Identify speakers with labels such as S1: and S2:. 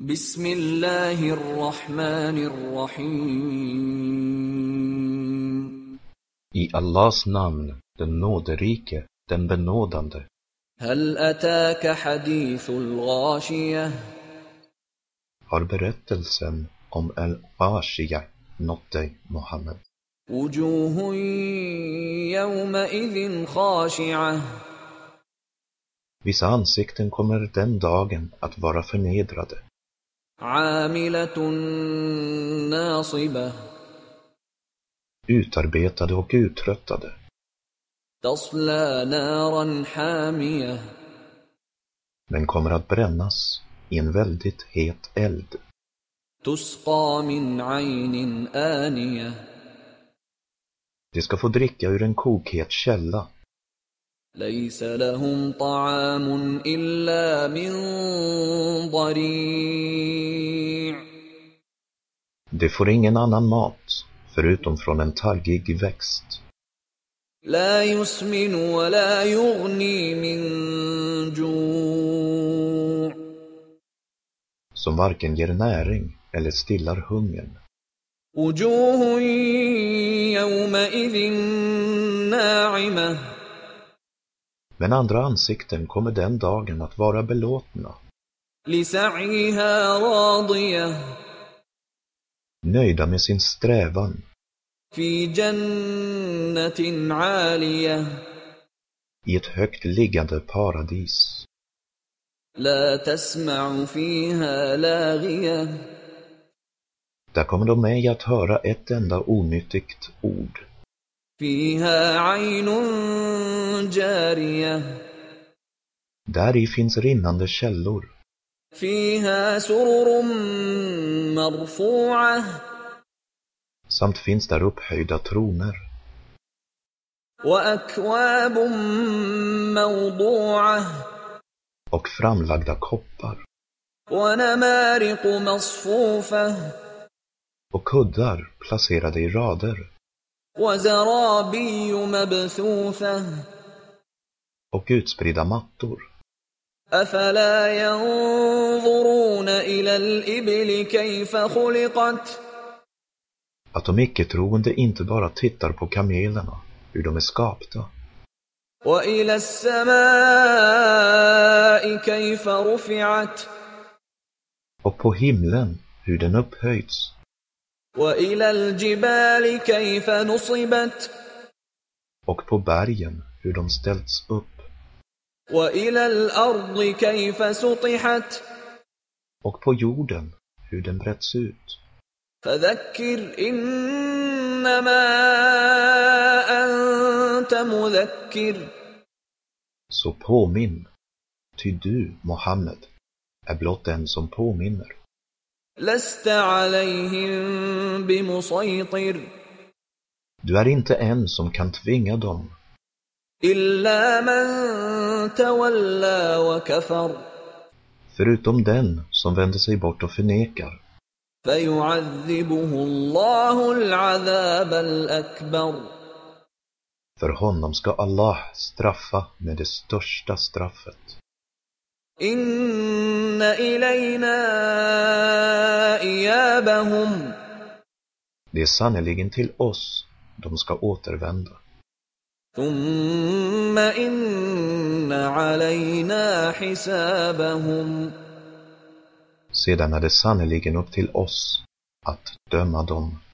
S1: بسم الله الرحمن الرحيم
S2: I Allahs namn, den nåderike, den benådande.
S1: هل أتاك حديث الغاشية
S2: Har berättelsen om Al-Ashia nått dig, Mohammed?
S1: وجوه يومئذ خاشعة
S2: Vissa ansikten kommer den dagen att vara förnedrade,
S1: عاملة ناصبة
S2: utarbetade och uttröttade.
S1: تصلى نارا حامية
S2: men kommer att brännas i en väldigt het eld.
S1: تسقى من عين آنية
S2: De ska få dricka ur en kokhet källa.
S1: ليس لهم طعام إلا من ضريع
S2: De får ingen annan mat, förutom från en taggig växt.
S1: لا يسمن ولا يغني من جوع
S2: som varken ger näring eller stillar hungern.
S1: وجوه يومئذ ناعمة
S2: Men andra ansikten kommer den dagen att vara belåtna,
S1: لسعيها راضية
S2: nöjda med sin strävan,
S1: في جنة عالية
S2: i ett högt liggande paradis.
S1: لا تسمع فيها لاغية
S2: Där kommer de ej att höra ett enda onyttigt ord.
S1: فيها عين جارية
S2: Där i finns rinnande källor,
S1: فيها سرر مرفوعة
S2: samt finns där upphöjda troner.
S1: وأكواب موضوعة
S2: och framlagda koppar
S1: ونمارق مصفوفة
S2: och kuddar placerade i rader
S1: وزرابي مبثوثة
S2: och utspridda mattor.
S1: أفلا ينظرون إلى الإبل كيف خلقت
S2: Att de icke-troende inte bara tittar på kamelerna, hur de är skapta,
S1: وإلى السماء كيف رفعت
S2: och på himlen, hur den upphöjts,
S1: وإلى الجبال كيف نصبت
S2: och på bergen, hur de ställts upp,
S1: وإلى الأرض كيف سطحت
S2: och på jorden, hur den bretts ut.
S1: فذكر إنما أنت مذكر
S2: Så påminn, ty du, Mohammed, är blott en som påminner.
S1: لست عليهم بمسيطر
S2: Du är inte en som kan tvinga dem,
S1: إلا من تولى وكفر
S2: förutom den som vänder sig bort och förnekar.
S1: فيعذبه الله العذاب الأكبر
S2: För honom ska Allah straffa med det största straffet.
S1: إن إلينا إيابهم
S2: Det är sannerligen till oss de ska återvända.
S1: ثم إن علينا حسابهم
S2: Sedan är det sannerligen upp till oss att döma dem.